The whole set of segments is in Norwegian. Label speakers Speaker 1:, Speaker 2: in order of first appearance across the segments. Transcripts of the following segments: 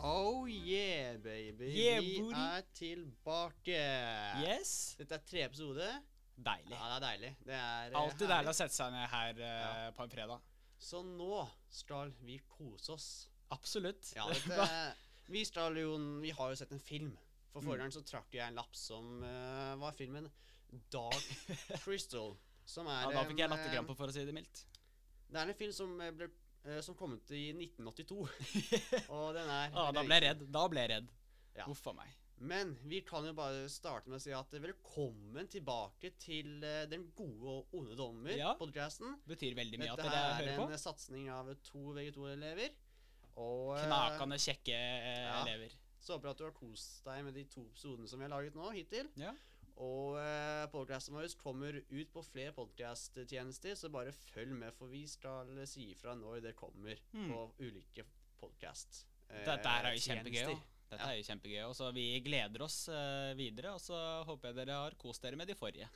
Speaker 1: Oh yeah, baby.
Speaker 2: Yeah,
Speaker 1: Vi
Speaker 2: booty.
Speaker 1: er tilbake.
Speaker 2: Yes.
Speaker 1: Dette er tre episode.
Speaker 2: Deilig.
Speaker 1: Ja, det er deilig. Det er eh,
Speaker 2: Alltid
Speaker 1: herlig.
Speaker 2: deilig å sette seg ned her eh, på en fredag.
Speaker 1: Så nå skal vi kose oss.
Speaker 2: Absolutt.
Speaker 1: Ja, dette, eh, vi, skal jo, vi har jo sett en film. For
Speaker 2: Mm.
Speaker 1: forrige gang så trakk jeg en lapp som eh, var filmen Dark Crystal. Som er
Speaker 2: ja, da fikk jeg
Speaker 1: en, eh,
Speaker 2: latterkrampe, for å si det mildt.
Speaker 1: Det er en film som eh, ble eh, som kom ut i 1982. Og den er
Speaker 2: Ja, da ble jeg redd. Da ble jeg redd.
Speaker 1: Ja.
Speaker 2: Huff a meg.
Speaker 1: Men vi kan jo bare starte med å si at velkommen tilbake til eh, Den gode og onde dommer,
Speaker 2: Ja.
Speaker 1: podcasten.
Speaker 2: Betyr veldig mye at
Speaker 1: Dette her
Speaker 2: dere
Speaker 1: er
Speaker 2: hører
Speaker 1: en
Speaker 2: på.
Speaker 1: eh, satsing av to VG2-elever. Og eh,
Speaker 2: Knakende kjekke eh,
Speaker 1: ja.
Speaker 2: elever.
Speaker 1: så håper jeg at du har kost deg med de to episodene som vi har laget nå hittil.
Speaker 2: Ja.
Speaker 1: Og eh, podcasten vår kommer ut på flere podcasttjenester, så bare følg med, for vi skal si ifra når det kommer
Speaker 2: Hmm.
Speaker 1: på ulike podcast. eh,
Speaker 2: Dette her er jo kjempegøy.
Speaker 1: tjenester.
Speaker 2: også. Dette er jo kjempegøy, og så Vi gleder oss eh, videre, og så håper jeg dere har kost dere med de forrige.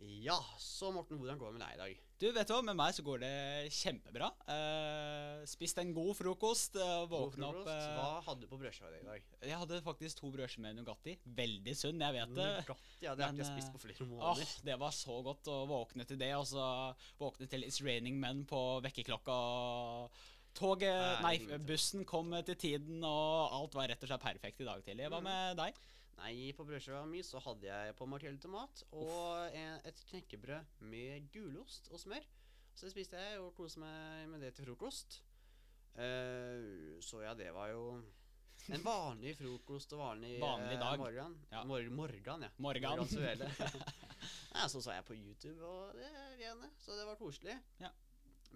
Speaker 1: Ja, så Morten, hvordan går det med deg i dag?
Speaker 2: Du, vet du hva, Med meg så går det kjempebra. Eh, spist en god frokost. eh,
Speaker 1: God
Speaker 2: Våkna opp
Speaker 1: frokost.
Speaker 2: eh,
Speaker 1: Hva hadde du på brødskiva di i dag?
Speaker 2: Jeg hadde faktisk to brødskiver med Nugatti. Veldig sunn, jeg vet det.
Speaker 1: Godt, ja, det har
Speaker 2: men,
Speaker 1: ikke jeg
Speaker 2: eh,
Speaker 1: spist på flere
Speaker 2: Åh,
Speaker 1: måneder.
Speaker 2: det var så godt å våkne til det, og så våkne til It's Raining Men på vekkerklokka. og Toget, nei,
Speaker 1: Herregud.
Speaker 2: bussen kom til tiden, og alt var rett og slett perfekt i dag tidlig. Hva
Speaker 1: Mm.
Speaker 2: med deg?
Speaker 1: Nei, på brødskiva mi så hadde jeg på markell tomat og en, et knekkebrød med gulost og smør. Så det spiste jeg og koste meg med det til frokost. Eh, så ja, det var jo en vanlig frokost og vanlig,
Speaker 2: Vanlig
Speaker 1: eh,
Speaker 2: dag.
Speaker 1: morgen.
Speaker 2: Ja.
Speaker 1: Mor morgen, ja.
Speaker 2: Morgan.
Speaker 1: Morgensuelle. ja, så så jeg på YouTube og det greiene, så det var koselig.
Speaker 2: Ja.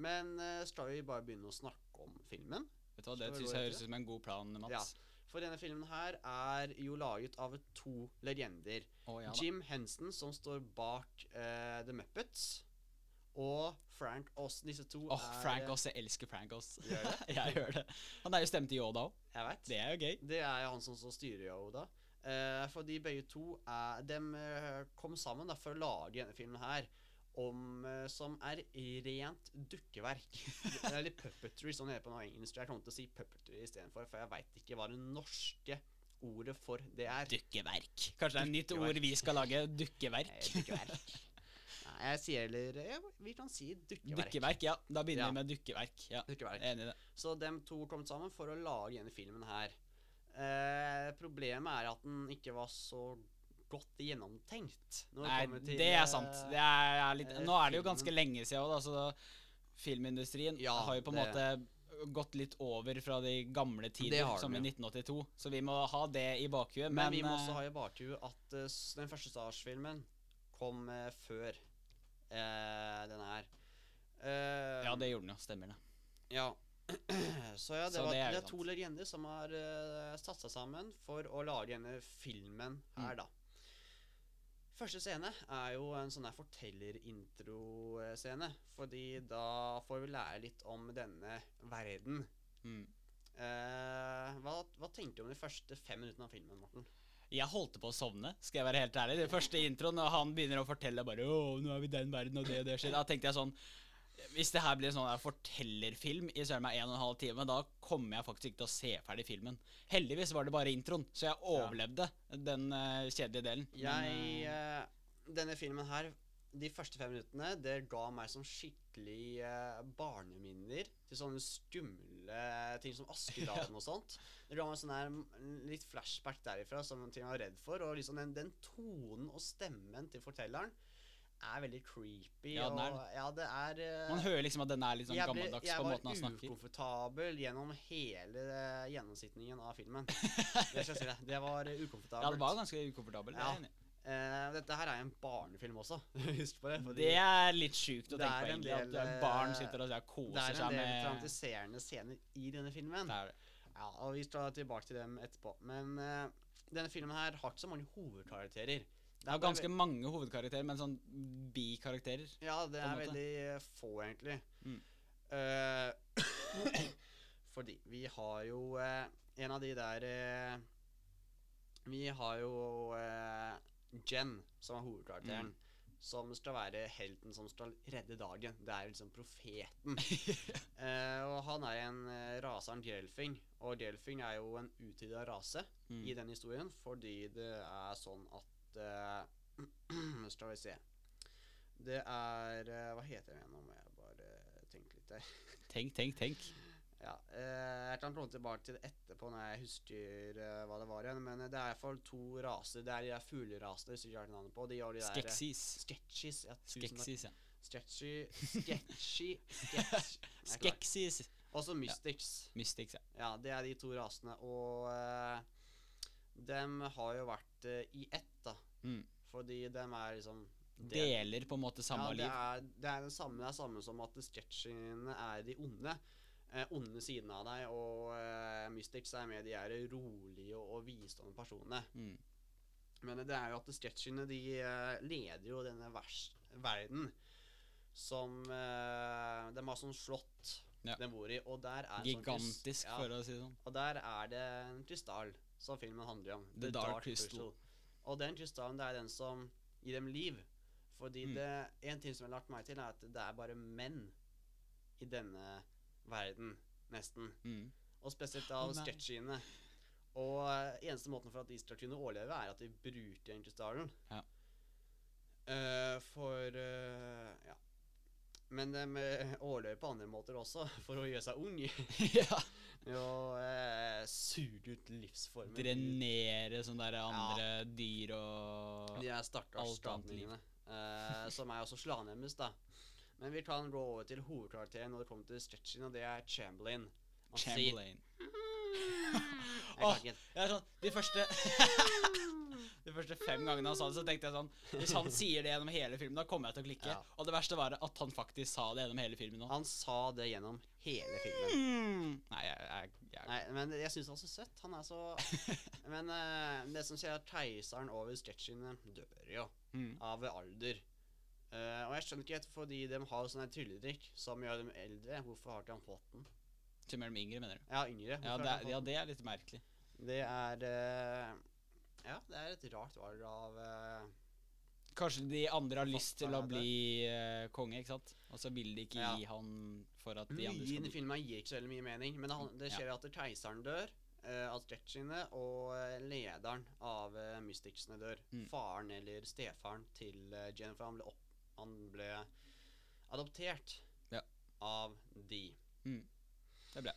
Speaker 1: Men eh, skal vi bare begynne å snakke om filmen?
Speaker 2: Vet du hva, Det
Speaker 1: Skal vi gå
Speaker 2: synes jeg
Speaker 1: etter?
Speaker 2: høres ut som en god plan, Mats.
Speaker 1: For denne filmen her er jo laget av to legender.
Speaker 2: Å, ja da.
Speaker 1: Jim Henson, som står bak eh, The Muppets, og Frank Oss. Disse to
Speaker 2: Åh,
Speaker 1: er
Speaker 2: Frank Oss, jeg elsker Frank Oss.
Speaker 1: Gjør det?
Speaker 2: jeg gjør det. Han er jo stemt i Yoda òg.
Speaker 1: Jeg vet.
Speaker 2: Det er jo gøy.
Speaker 1: Det er jo han som, som styrer Yoda. Eh, for de begge to er, dem, eh, kom sammen da, for å lage denne filmen her. Om, eh, som er rent dukkeverk. Eller puppetry, som det heter på noe engelsk. Jeg kommer til å si puppetry istedenfor, for jeg veit ikke hva det norske ordet for det er.
Speaker 2: Dukkeverk. Kanskje det er et nytt
Speaker 1: Dukkeverk.
Speaker 2: ord vi skal lage. Dukkeverk.
Speaker 1: Eh, Dukkeverk. Nei, jeg sier heller ja, Vi kan si dukkeverk.
Speaker 2: Dukkeverk, ja. Da begynner
Speaker 1: Ja.
Speaker 2: vi med dukkeverk. Ja,
Speaker 1: Dukkeverk.
Speaker 2: jeg er Enig i det.
Speaker 1: Så dem to kom sammen for å lage denne filmen her. Eh, problemet er at den ikke var så godt gjennomtenkt. når det
Speaker 2: Nei,
Speaker 1: kommer til,
Speaker 2: det er sant.
Speaker 1: eh,
Speaker 2: Det er, er litt,
Speaker 1: eh,
Speaker 2: nå er det jo ganske
Speaker 1: filmen.
Speaker 2: lenge siden òg, da, så filmindustrien
Speaker 1: Ja,
Speaker 2: har jo på en
Speaker 1: det-
Speaker 2: måte gått litt over fra de gamle tider,
Speaker 1: har den,
Speaker 2: som i
Speaker 1: ja.
Speaker 2: 1982. Så vi må ha det i bakhuet.
Speaker 1: men,
Speaker 2: Men,
Speaker 1: vi må
Speaker 2: eh,
Speaker 1: også ha i bakhuet at eh, s- den første Star Wars-filmen kom eh, før eh, denne her. Eh,
Speaker 2: Ja, det gjorde den jo. Stemmer det.
Speaker 1: ja. Så ja, det
Speaker 2: Så
Speaker 1: var
Speaker 2: det er jo
Speaker 1: det er to
Speaker 2: sant.
Speaker 1: legender som har uh, satt seg sammen for å lage denne filmen
Speaker 2: Mm.
Speaker 1: her, da. Første scene er jo en sånn her fortellerintroscene. Fordi da får vi lære litt om denne verden.
Speaker 2: Mm.
Speaker 1: Eh, hva, hva tenker du om de første fem minuttene av filmen, Morten?
Speaker 2: Jeg holdt på å sovne, skal jeg være helt ærlig. Det første introen, og han begynner å fortelle bare Å, nå er vi i den verden, og det og det skjer. Da tenkte jeg sånn Hvis det her blir en sånn der fortellerfilm i søren meg en og en halv time, da kommer jeg faktisk ikke til å se ferdig filmen. Heldigvis var det bare introen, så jeg overlevde den eh, kjedelige delen. Men,
Speaker 1: Jeg
Speaker 2: eh,
Speaker 1: eh, Denne filmen her, de første fem minuttene, det ga meg som skikkelig eh, barneminner til sånne skumle ting som Askeladden og sånt. Det ga meg sånn her mm, litt flashback derifra, som ting jeg var redd for. Og liksom den, den tonen og stemmen til fortelleren er veldig creepy.
Speaker 2: Ja, den er
Speaker 1: og, ja, det er eh,
Speaker 2: Man hører liksom at den er litt sånn
Speaker 1: jeg ble-
Speaker 2: gammeldags på måten han
Speaker 1: Jeg
Speaker 2: snakker.
Speaker 1: var ukomfortabel gjennom hele eh, gjennomsnittningen av filmen. Det, skal jeg si deg. det var eh, ukomfortabelt.
Speaker 2: Ja, det var ganske ukomfortabel. det er
Speaker 1: Ja.
Speaker 2: jeg enig i.
Speaker 1: Eh, dette her er en barnefilm også. Husk på det. Fordi
Speaker 2: Det er litt sjukt å
Speaker 1: Det
Speaker 2: tenke på,
Speaker 1: er en
Speaker 2: egentlig. At
Speaker 1: del,
Speaker 2: eh, barn
Speaker 1: eh,
Speaker 2: sitter og så
Speaker 1: det er
Speaker 2: koser
Speaker 1: en del
Speaker 2: seg med
Speaker 1: traumatiserende scener i denne filmen.
Speaker 2: Det er det.
Speaker 1: Ja, og Vi skal tilbake til dem etterpå. Men eh, denne filmen her har ikke så mange hovedkarakterer.
Speaker 2: Det er ganske mange hovedkarakterer, men sånn bikarakterer.
Speaker 1: Ja, det
Speaker 2: på en
Speaker 1: er
Speaker 2: måte.
Speaker 1: veldig eh, få, egentlig.
Speaker 2: Mm.
Speaker 1: Eh, fordi vi har jo eh, en av de der eh, Vi har jo eh, Jen, som er hovedkarakteren.
Speaker 2: Mm.
Speaker 1: som skal være helten som skal redde dagen. Det er jo liksom profeten. Eh, og han er en eh, rase av en djelfing, og djelfing er jo en utrydda rase
Speaker 2: Mm.
Speaker 1: i den historien, fordi det er sånn at eh, Skal vi se Det er eh, Hva heter den igjen? Nå må jeg bare tenke litt der.
Speaker 2: Tenk, tenk, tenk.
Speaker 1: Ja, eh, jeg kan komme tilbake til det etterpå når jeg husker eh, hva det var igjen, men eh, det er iallfall to raser. Det er de der fuglerasene hvis du ikke har navnet på. De har de der eh,
Speaker 2: Skeksis.
Speaker 1: Sketches. Ja, tusen takk.
Speaker 2: Skeksis, ja.
Speaker 1: Sketchy Sketchy sketch. Jeg klarer.
Speaker 2: Skeksis.
Speaker 1: Også Mystics.
Speaker 2: Mystics, ja.
Speaker 1: Ja, det er de to rasene. Og eh, dem har jo vært eh, i ett, da.
Speaker 2: Mm.
Speaker 1: Fordi dem er liksom delt.
Speaker 2: Deler på en måte samme
Speaker 1: ja, det
Speaker 2: liv.
Speaker 1: er, det er det samme, det er samme som at sketsjene er de onde. Eh, onde siden av deg, og eh, Mystics er med de er rolige og, og visdommende personene.
Speaker 2: Mm.
Speaker 1: Men det er jo at sketsjene de eh, leder jo denne vers verden som eh, De har sånn slott
Speaker 2: Ja.
Speaker 1: de bor i, og der er en sånn krys-
Speaker 2: Gigantisk,
Speaker 1: ja,
Speaker 2: for å si det sånn.
Speaker 1: og der er det en krystall som filmen handler om.
Speaker 2: The Dark Crystal.
Speaker 1: Og den krystallen det er den som gir dem liv. Fordi
Speaker 2: Mm.
Speaker 1: det, en ting som jeg har lagt meg til, er at det er bare menn i denne verden, nesten.
Speaker 2: Mm.
Speaker 1: Og spesielt av
Speaker 2: Å, nei.
Speaker 1: sketsjene. Og eh, eneste måten for at de skal kunne overleve, er at de bruker den krystallen.
Speaker 2: Ja.
Speaker 1: Eh, for eh, ja. Men de eh, overlever på andre måter også, for å gjøre seg ung.
Speaker 2: ja.
Speaker 1: Ved å eh, suge ut livsformen.
Speaker 2: Drenere sånne der andre dyr og
Speaker 1: De er stakkars
Speaker 2: alt annet liv.
Speaker 1: skapningene. eh, som er også slaven deres, da. Men vi kan gå over til hovedkarakteren når det kommer til stretching, og det er Chamberlain. Han sier-
Speaker 2: Chamberlain.
Speaker 1: Jeg kan
Speaker 2: Åh,
Speaker 1: ikke-
Speaker 2: Det er sånn, de første De første fem gangene han sa det, så tenkte jeg sånn Hvis han sier det gjennom hele filmen, da kommer jeg til å klikke.
Speaker 1: Ja.
Speaker 2: Og det verste var at han faktisk sa det gjennom hele filmen òg.
Speaker 1: Han sa det gjennom hele filmen.
Speaker 2: Mm. Nei, jeg, jeg, jeg,
Speaker 1: Nei, men jeg syns han er så søtt. Han er så Men eh, det som skjer, er at keiseren over stretchingene dør jo
Speaker 2: mm.
Speaker 1: av alder. Eh, og jeg skjønner ikke helt, fordi de har jo sånn her trylledrikk som gjør dem eldre. Hvorfor har ikke han fått den?
Speaker 2: Til mellom yngre, mener du?
Speaker 1: Ja, yngre.
Speaker 2: Ja
Speaker 1: hvorfor har
Speaker 2: det, sånn.
Speaker 1: ikke han fått
Speaker 2: er, ja,
Speaker 1: den?
Speaker 2: det er litt merkelig.
Speaker 1: Det er eh, Ja, det er et rart valg av eh,
Speaker 2: Kanskje de andre har lyst til å
Speaker 1: Forfatterne.
Speaker 2: bli eh, konge, ikke sant? Og så vil de ikke
Speaker 1: Ja.
Speaker 2: gi han for at de
Speaker 1: Mye
Speaker 2: andre
Speaker 1: i
Speaker 2: skal
Speaker 1: den
Speaker 2: bli
Speaker 1: filmen gir ikke så veldig mye mening, men han, det
Speaker 2: Ja.
Speaker 1: skjer at keiseren dør, eh, at stretchene og eh, lederen av eh, Mysticsene dør.
Speaker 2: Mm.
Speaker 1: Faren eller stefaren til eh, Jennifer, han ble, opp, han ble adoptert
Speaker 2: Ja.
Speaker 1: av de.
Speaker 2: Mm. Det ble.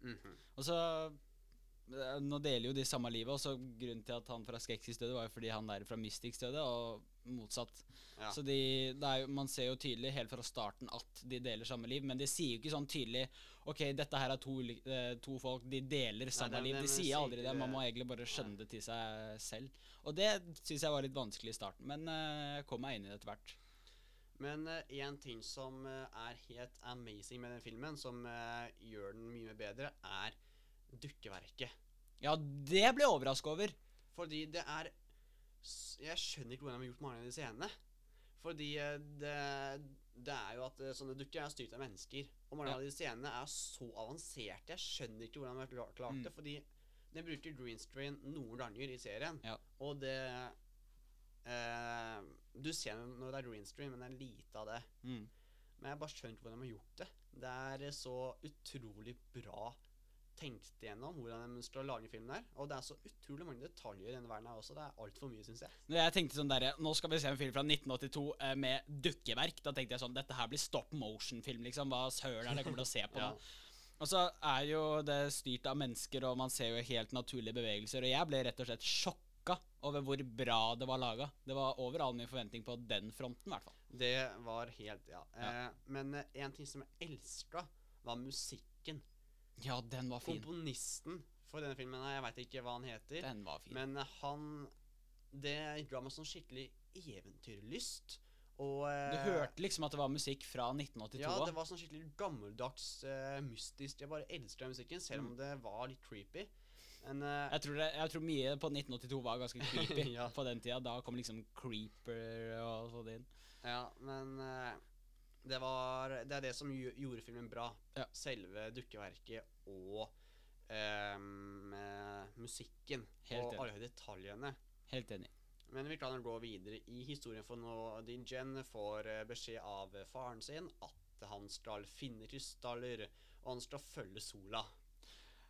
Speaker 1: Mhm.
Speaker 2: Og så eh, Nå deler jo de samme livet, og så grunnen til at han fra Skeksis døde, var jo fordi han der fra Mystics døde, og motsatt.
Speaker 1: Ja.
Speaker 2: Så de, det er jo, man ser jo tydelig helt fra starten at de deler samme liv, men de sier jo ikke sånn tydelig Ok, dette her er to, ulik- eh, to folk, de deler samme
Speaker 1: dem-
Speaker 2: liv.
Speaker 1: dem
Speaker 2: De sier
Speaker 1: sier
Speaker 2: aldri
Speaker 1: ikke
Speaker 2: det. Man
Speaker 1: det.
Speaker 2: må egentlig bare skjønne det til seg selv. Og det syns jeg var litt vanskelig i starten, men eh, jeg kom meg inn i det etter hvert.
Speaker 1: Men én ting som eh, er helt amazing med den filmen, som eh, gjør den mye bedre, er dukkeverket.
Speaker 2: Ja, det ble jeg overraska over.
Speaker 1: Fordi det er s- Jeg skjønner ikke hvordan de har gjort mange av de scenene. Fordi eh, det, det er jo at eh, sånne dukker er styrt av mennesker. Og mange
Speaker 2: Ja.
Speaker 1: av de scenene er så avanserte. Jeg skjønner ikke hvordan de har klar- klart
Speaker 2: Mm.
Speaker 1: det. Fordi de bruker green screen noen ganger i serien.
Speaker 2: Ja.
Speaker 1: Og det eh, Du ser det når det er green screen, men det er lite av det.
Speaker 2: Mm.
Speaker 1: Men jeg bare skjønner ikke hvordan de har gjort det. Det er eh, så utrolig bra tenkt igjennom hvordan de skal lage filmen her. Og det er så utrolig mange detaljer i denne verden her også. Det er altfor mye, syns jeg.
Speaker 2: Når jeg tenkte sånn der, Nå skal vi se en film fra 1982 eh, med dukkeverk. Da tenkte jeg sånn Dette her blir stop motion-film, liksom. Hva søren er det jeg kommer til å se på?
Speaker 1: Ja.
Speaker 2: nå? Og så er jo det styrt av mennesker, og man ser jo helt naturlige bevegelser. Og jeg ble rett og slett sjokka over hvor bra det var laga. Det var over all min forventning på den fronten, i hvert fall.
Speaker 1: Det var helt Ja.
Speaker 2: Ja.
Speaker 1: Eh, men eh, en ting som jeg elska, var musikken.
Speaker 2: Ja, den var fin.
Speaker 1: Komponisten for denne filmen her, jeg veit ikke hva han heter,
Speaker 2: Den var fin.
Speaker 1: men eh, han Det ga meg sånn skikkelig eventyrlyst. Og
Speaker 2: Du
Speaker 1: eh,
Speaker 2: hørte liksom at det var musikk fra 1982
Speaker 1: Ja, det
Speaker 2: òg.
Speaker 1: var sånn skikkelig gammeldags, eh, mystisk. Jeg bare elska musikken, selv
Speaker 2: Mm.
Speaker 1: om det var litt creepy. Men eh,
Speaker 2: Jeg tror, det, jeg tror mye på 1982 var ganske creepy
Speaker 1: Ja.
Speaker 2: på den tida. Da kom liksom Creeper og sånn inn.
Speaker 1: ja, men eh, det var Det er det som gjo- gjorde filmen bra.
Speaker 2: Ja.
Speaker 1: Selve dukkeverket og ehm, eh, musikken.
Speaker 2: Helt
Speaker 1: og
Speaker 2: enig.
Speaker 1: alle detaljene.
Speaker 2: Helt enig.
Speaker 1: Men vi klarer å gå videre i historien, for nå Dingen får eh, beskjed av eh, faren sin at han skal finne krystaller, og han skal følge sola.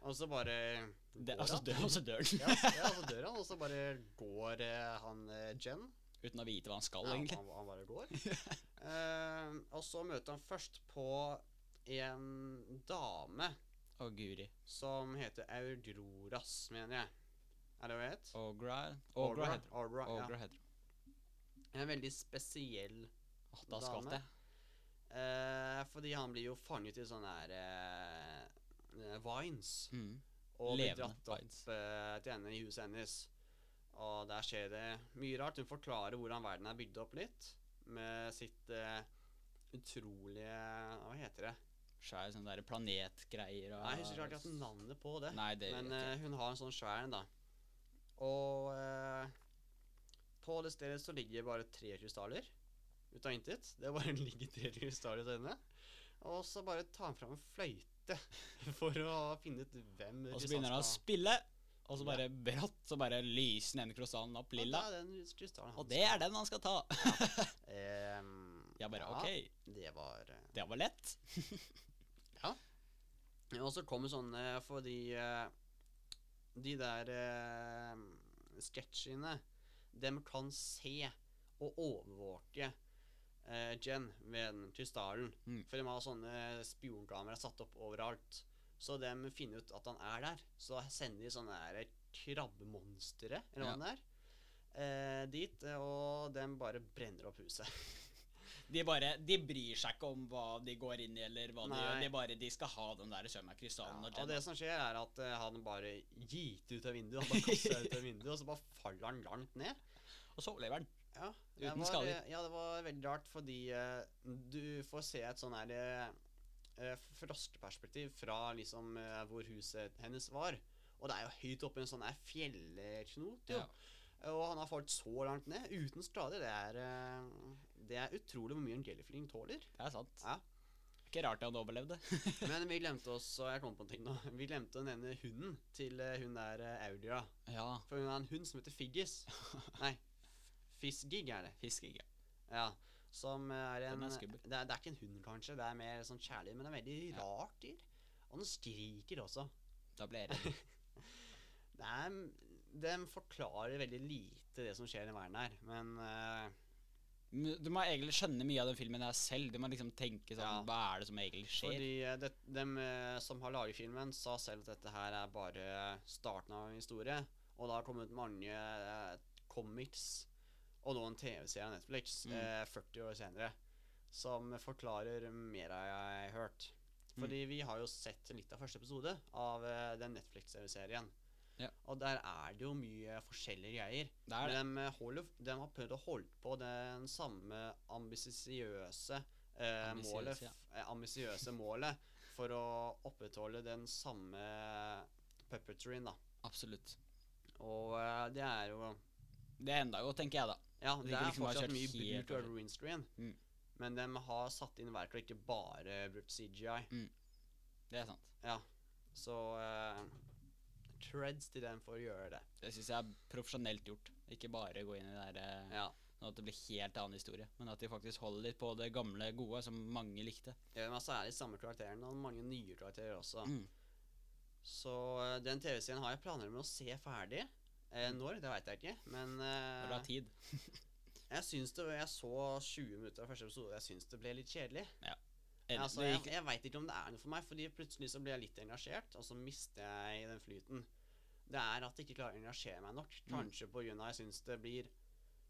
Speaker 1: Og så bare
Speaker 2: Det,
Speaker 1: går
Speaker 2: altså,
Speaker 1: han.
Speaker 2: dør, altså dør den.
Speaker 1: ja, ja, altså, og så dør han, og så bare går eh, han eh, Jen.
Speaker 2: Uten å vite hva han skal,
Speaker 1: Ja,
Speaker 2: egentlig.
Speaker 1: han, han bare går. Eh, og så møter han først på en dame
Speaker 2: Å, guri.
Speaker 1: som heter Audroras, mener jeg. Er det hva hun het?
Speaker 2: Ogra Ogra heter det.
Speaker 1: Aura, ja.
Speaker 2: Ogra heter det.
Speaker 1: En veldig spesiell
Speaker 2: Å, Da skvatt
Speaker 1: Dame.
Speaker 2: jeg.
Speaker 1: eh, Fordi han blir jo fanget i sånne her eh, eh, Vines.
Speaker 2: Mm.
Speaker 1: Og blir
Speaker 2: Levende
Speaker 1: dratt opp
Speaker 2: vines.
Speaker 1: eh, til henne i huset hennes. Og der skjer det mye rart. Hun forklarer hvordan verden er bygd opp litt. Med sitt eh, utrolige Hva heter det?
Speaker 2: Svær sånn der planetgreier og
Speaker 1: Nei, Jeg husker ikke akkurat navnet på det.
Speaker 2: Nei, det
Speaker 1: Men
Speaker 2: vet jeg
Speaker 1: eh, hun har en sånn svær en, da. Og eh, på det stedet så ligger bare tre krystaller ut av intet. Det bare ligger tre krystaller hos henne. Og så bare tar han fram en fløyte for å finne ut hvem
Speaker 2: ikke. Og så begynner han å spille, og så bare brått så bare lyser den ene krystallen opp lilla.
Speaker 1: Og det er den krystallen
Speaker 2: Og det er den han skal ta.
Speaker 1: Ehm,
Speaker 2: Jeg bare
Speaker 1: ja,
Speaker 2: OK,
Speaker 1: Det var eh,
Speaker 2: det var lett.
Speaker 1: eh, Og så kommer sånne fordi eh, De der eh, sketsjene Dem kan se og overvåke eh, Jen ved den krystallen.
Speaker 2: Mm.
Speaker 1: For de har sånne spionkamera satt opp overalt. Så dem finner ut at han er der. Så sender de sånne her eh, krabbemonstre, eller hva
Speaker 2: Ja.
Speaker 1: det er, eh, dit. eh, Og dem bare brenner opp huset.
Speaker 2: De bare, de bryr seg ikke om hva de går inn i, eller hva de
Speaker 1: Nei.
Speaker 2: gjør. De bare, de skal ha den der sømmen av krystallen.
Speaker 1: Ja,
Speaker 2: og
Speaker 1: og det
Speaker 2: Jenna.
Speaker 1: som skjer, er at eh, han bare giter ut av vinduet. Han bare kaster seg ut av vinduet, og så bare faller han langt ned.
Speaker 2: Og så lever den.
Speaker 1: Ja, det
Speaker 2: Uten
Speaker 1: var,
Speaker 2: skader.
Speaker 1: eh, Ja, det var veldig rart, fordi eh, du får se et sånn her eh, eh, frosteperspektiv fra liksom eh, hvor huset hennes var. Og det er jo høyt oppe i en sånn her fjellknot, jo.
Speaker 2: Ja.
Speaker 1: Og han har falt så langt ned, uten skader. Det er, eh, det er utrolig hvor mye en jellyfling tåler.
Speaker 2: Det er sant.
Speaker 1: Ja.
Speaker 2: Ikke rart han overlevde.
Speaker 1: Men vi glemte også, jeg kom på en ting nå, vi glemte å nevne hunden til eh, hun der eh, Audia.
Speaker 2: Ja,
Speaker 1: For hun har en hund som heter Figgis. Nei, Fisgig er det.
Speaker 2: fisking. ja.
Speaker 1: Ja. Som er en
Speaker 2: Den er
Speaker 1: det,
Speaker 2: skummel.
Speaker 1: er, det er ikke en hund, kanskje. Det er mer sånn kjæledyr. Men det er veldig
Speaker 2: Ja.
Speaker 1: rart dyr. Og den skriker også.
Speaker 2: Da ble jeg redd.
Speaker 1: Det er, de forklarer veldig lite det som skjer i verden her. Men eh,
Speaker 2: Men Du må egentlig skjønne mye av den filmen her selv. Du må liksom tenke sånn
Speaker 1: Ja.
Speaker 2: Hva er det som egentlig skjer?
Speaker 1: fordi eh, det, dem eh, som har laget filmen, sa selv at dette her er bare starten av en historie. Og det har kommet mange eh, comics og nå en TV-serie av Netflix
Speaker 2: Mm.
Speaker 1: eh, 40 år senere som forklarer mer av jeg har hørt. Fordi
Speaker 2: Mm.
Speaker 1: vi har jo sett litt av første episode av eh, den Netflix-serien.
Speaker 2: Ja.
Speaker 1: Og der er det jo mye forskjellige greier.
Speaker 2: Det er det.
Speaker 1: Men de, holder, de eh, har prøvd å holde på den samme ambisiøse eh,
Speaker 2: Ambisiøse,
Speaker 1: målet,
Speaker 2: ja.
Speaker 1: f- eh, ambisiøse målet for å opprettholde den samme puppetryen, da.
Speaker 2: Absolutt.
Speaker 1: Og eh, det er jo
Speaker 2: Det enda jo, tenker jeg, da.
Speaker 1: Ja, det
Speaker 2: Det virker
Speaker 1: er
Speaker 2: liksom bare
Speaker 1: fortsatt
Speaker 2: kjørt
Speaker 1: mye
Speaker 2: helt
Speaker 1: bruk av
Speaker 2: over.
Speaker 1: ruin screen.
Speaker 2: Mm.
Speaker 1: Men de har satt inn verk og ikke bare brukt CGI.
Speaker 2: Det er sant.
Speaker 1: Så eh, treads til dem for å gjøre det.
Speaker 2: Det syns jeg er profesjonelt gjort. Ikke bare gå inn i det der, eh,
Speaker 1: Ja.
Speaker 2: sånn at det blir helt annen historie, men at de faktisk holder litt på det gamle, gode som mange likte.
Speaker 1: Ja, men altså er de samme karakterene og mange nye karakterer også.
Speaker 2: Mm.
Speaker 1: Så eh, den TV-serien har jeg planer om å se ferdig. Eh,
Speaker 2: Mm.
Speaker 1: når, det veit jeg ikke, men
Speaker 2: Når du
Speaker 1: eh,
Speaker 2: har tid.
Speaker 1: jeg syns det Jeg så 20 minutter av første episode, og jeg syns det ble litt kjedelig.
Speaker 2: Eller,
Speaker 1: Altså,
Speaker 2: det
Speaker 1: jeg
Speaker 2: gikk,
Speaker 1: jeg veit ikke om det er noe for meg, Fordi plutselig så blir jeg litt engasjert, og så mister jeg den flyten. Det er at jeg ikke klarer å engasjere meg nok.
Speaker 2: Mm.
Speaker 1: Kanskje på grunn av jeg syns det blir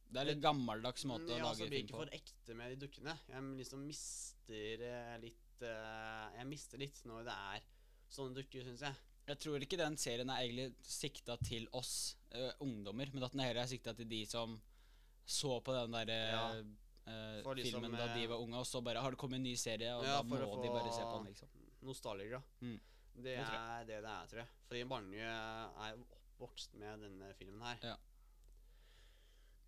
Speaker 1: Mm,
Speaker 2: det er litt gammeldags måte
Speaker 1: Ja,
Speaker 2: å
Speaker 1: så
Speaker 2: lage
Speaker 1: blir jeg
Speaker 2: film
Speaker 1: ikke
Speaker 2: på.
Speaker 1: for ekte med de dukkene. Jeg liksom mister eh, litt eh, Jeg mister litt når det er sånne dukker, syns jeg.
Speaker 2: Jeg tror ikke den serien er egentlig sikta til oss eh, ungdommer, men at den heller er sikta til de som så på den derre
Speaker 1: For de som,
Speaker 2: filmen da de
Speaker 1: eh,
Speaker 2: var unge, og så bare har det kommet en ny serie, og
Speaker 1: Ja,
Speaker 2: da
Speaker 1: for
Speaker 2: må
Speaker 1: å
Speaker 2: de bare se på
Speaker 1: få-
Speaker 2: den, liksom.
Speaker 1: Nostalgia.
Speaker 2: Mm.
Speaker 1: Det
Speaker 2: Det tror jeg.
Speaker 1: er det det er, tror jeg. Fordi mange er jo oppvokst med denne filmen her.
Speaker 2: Ja.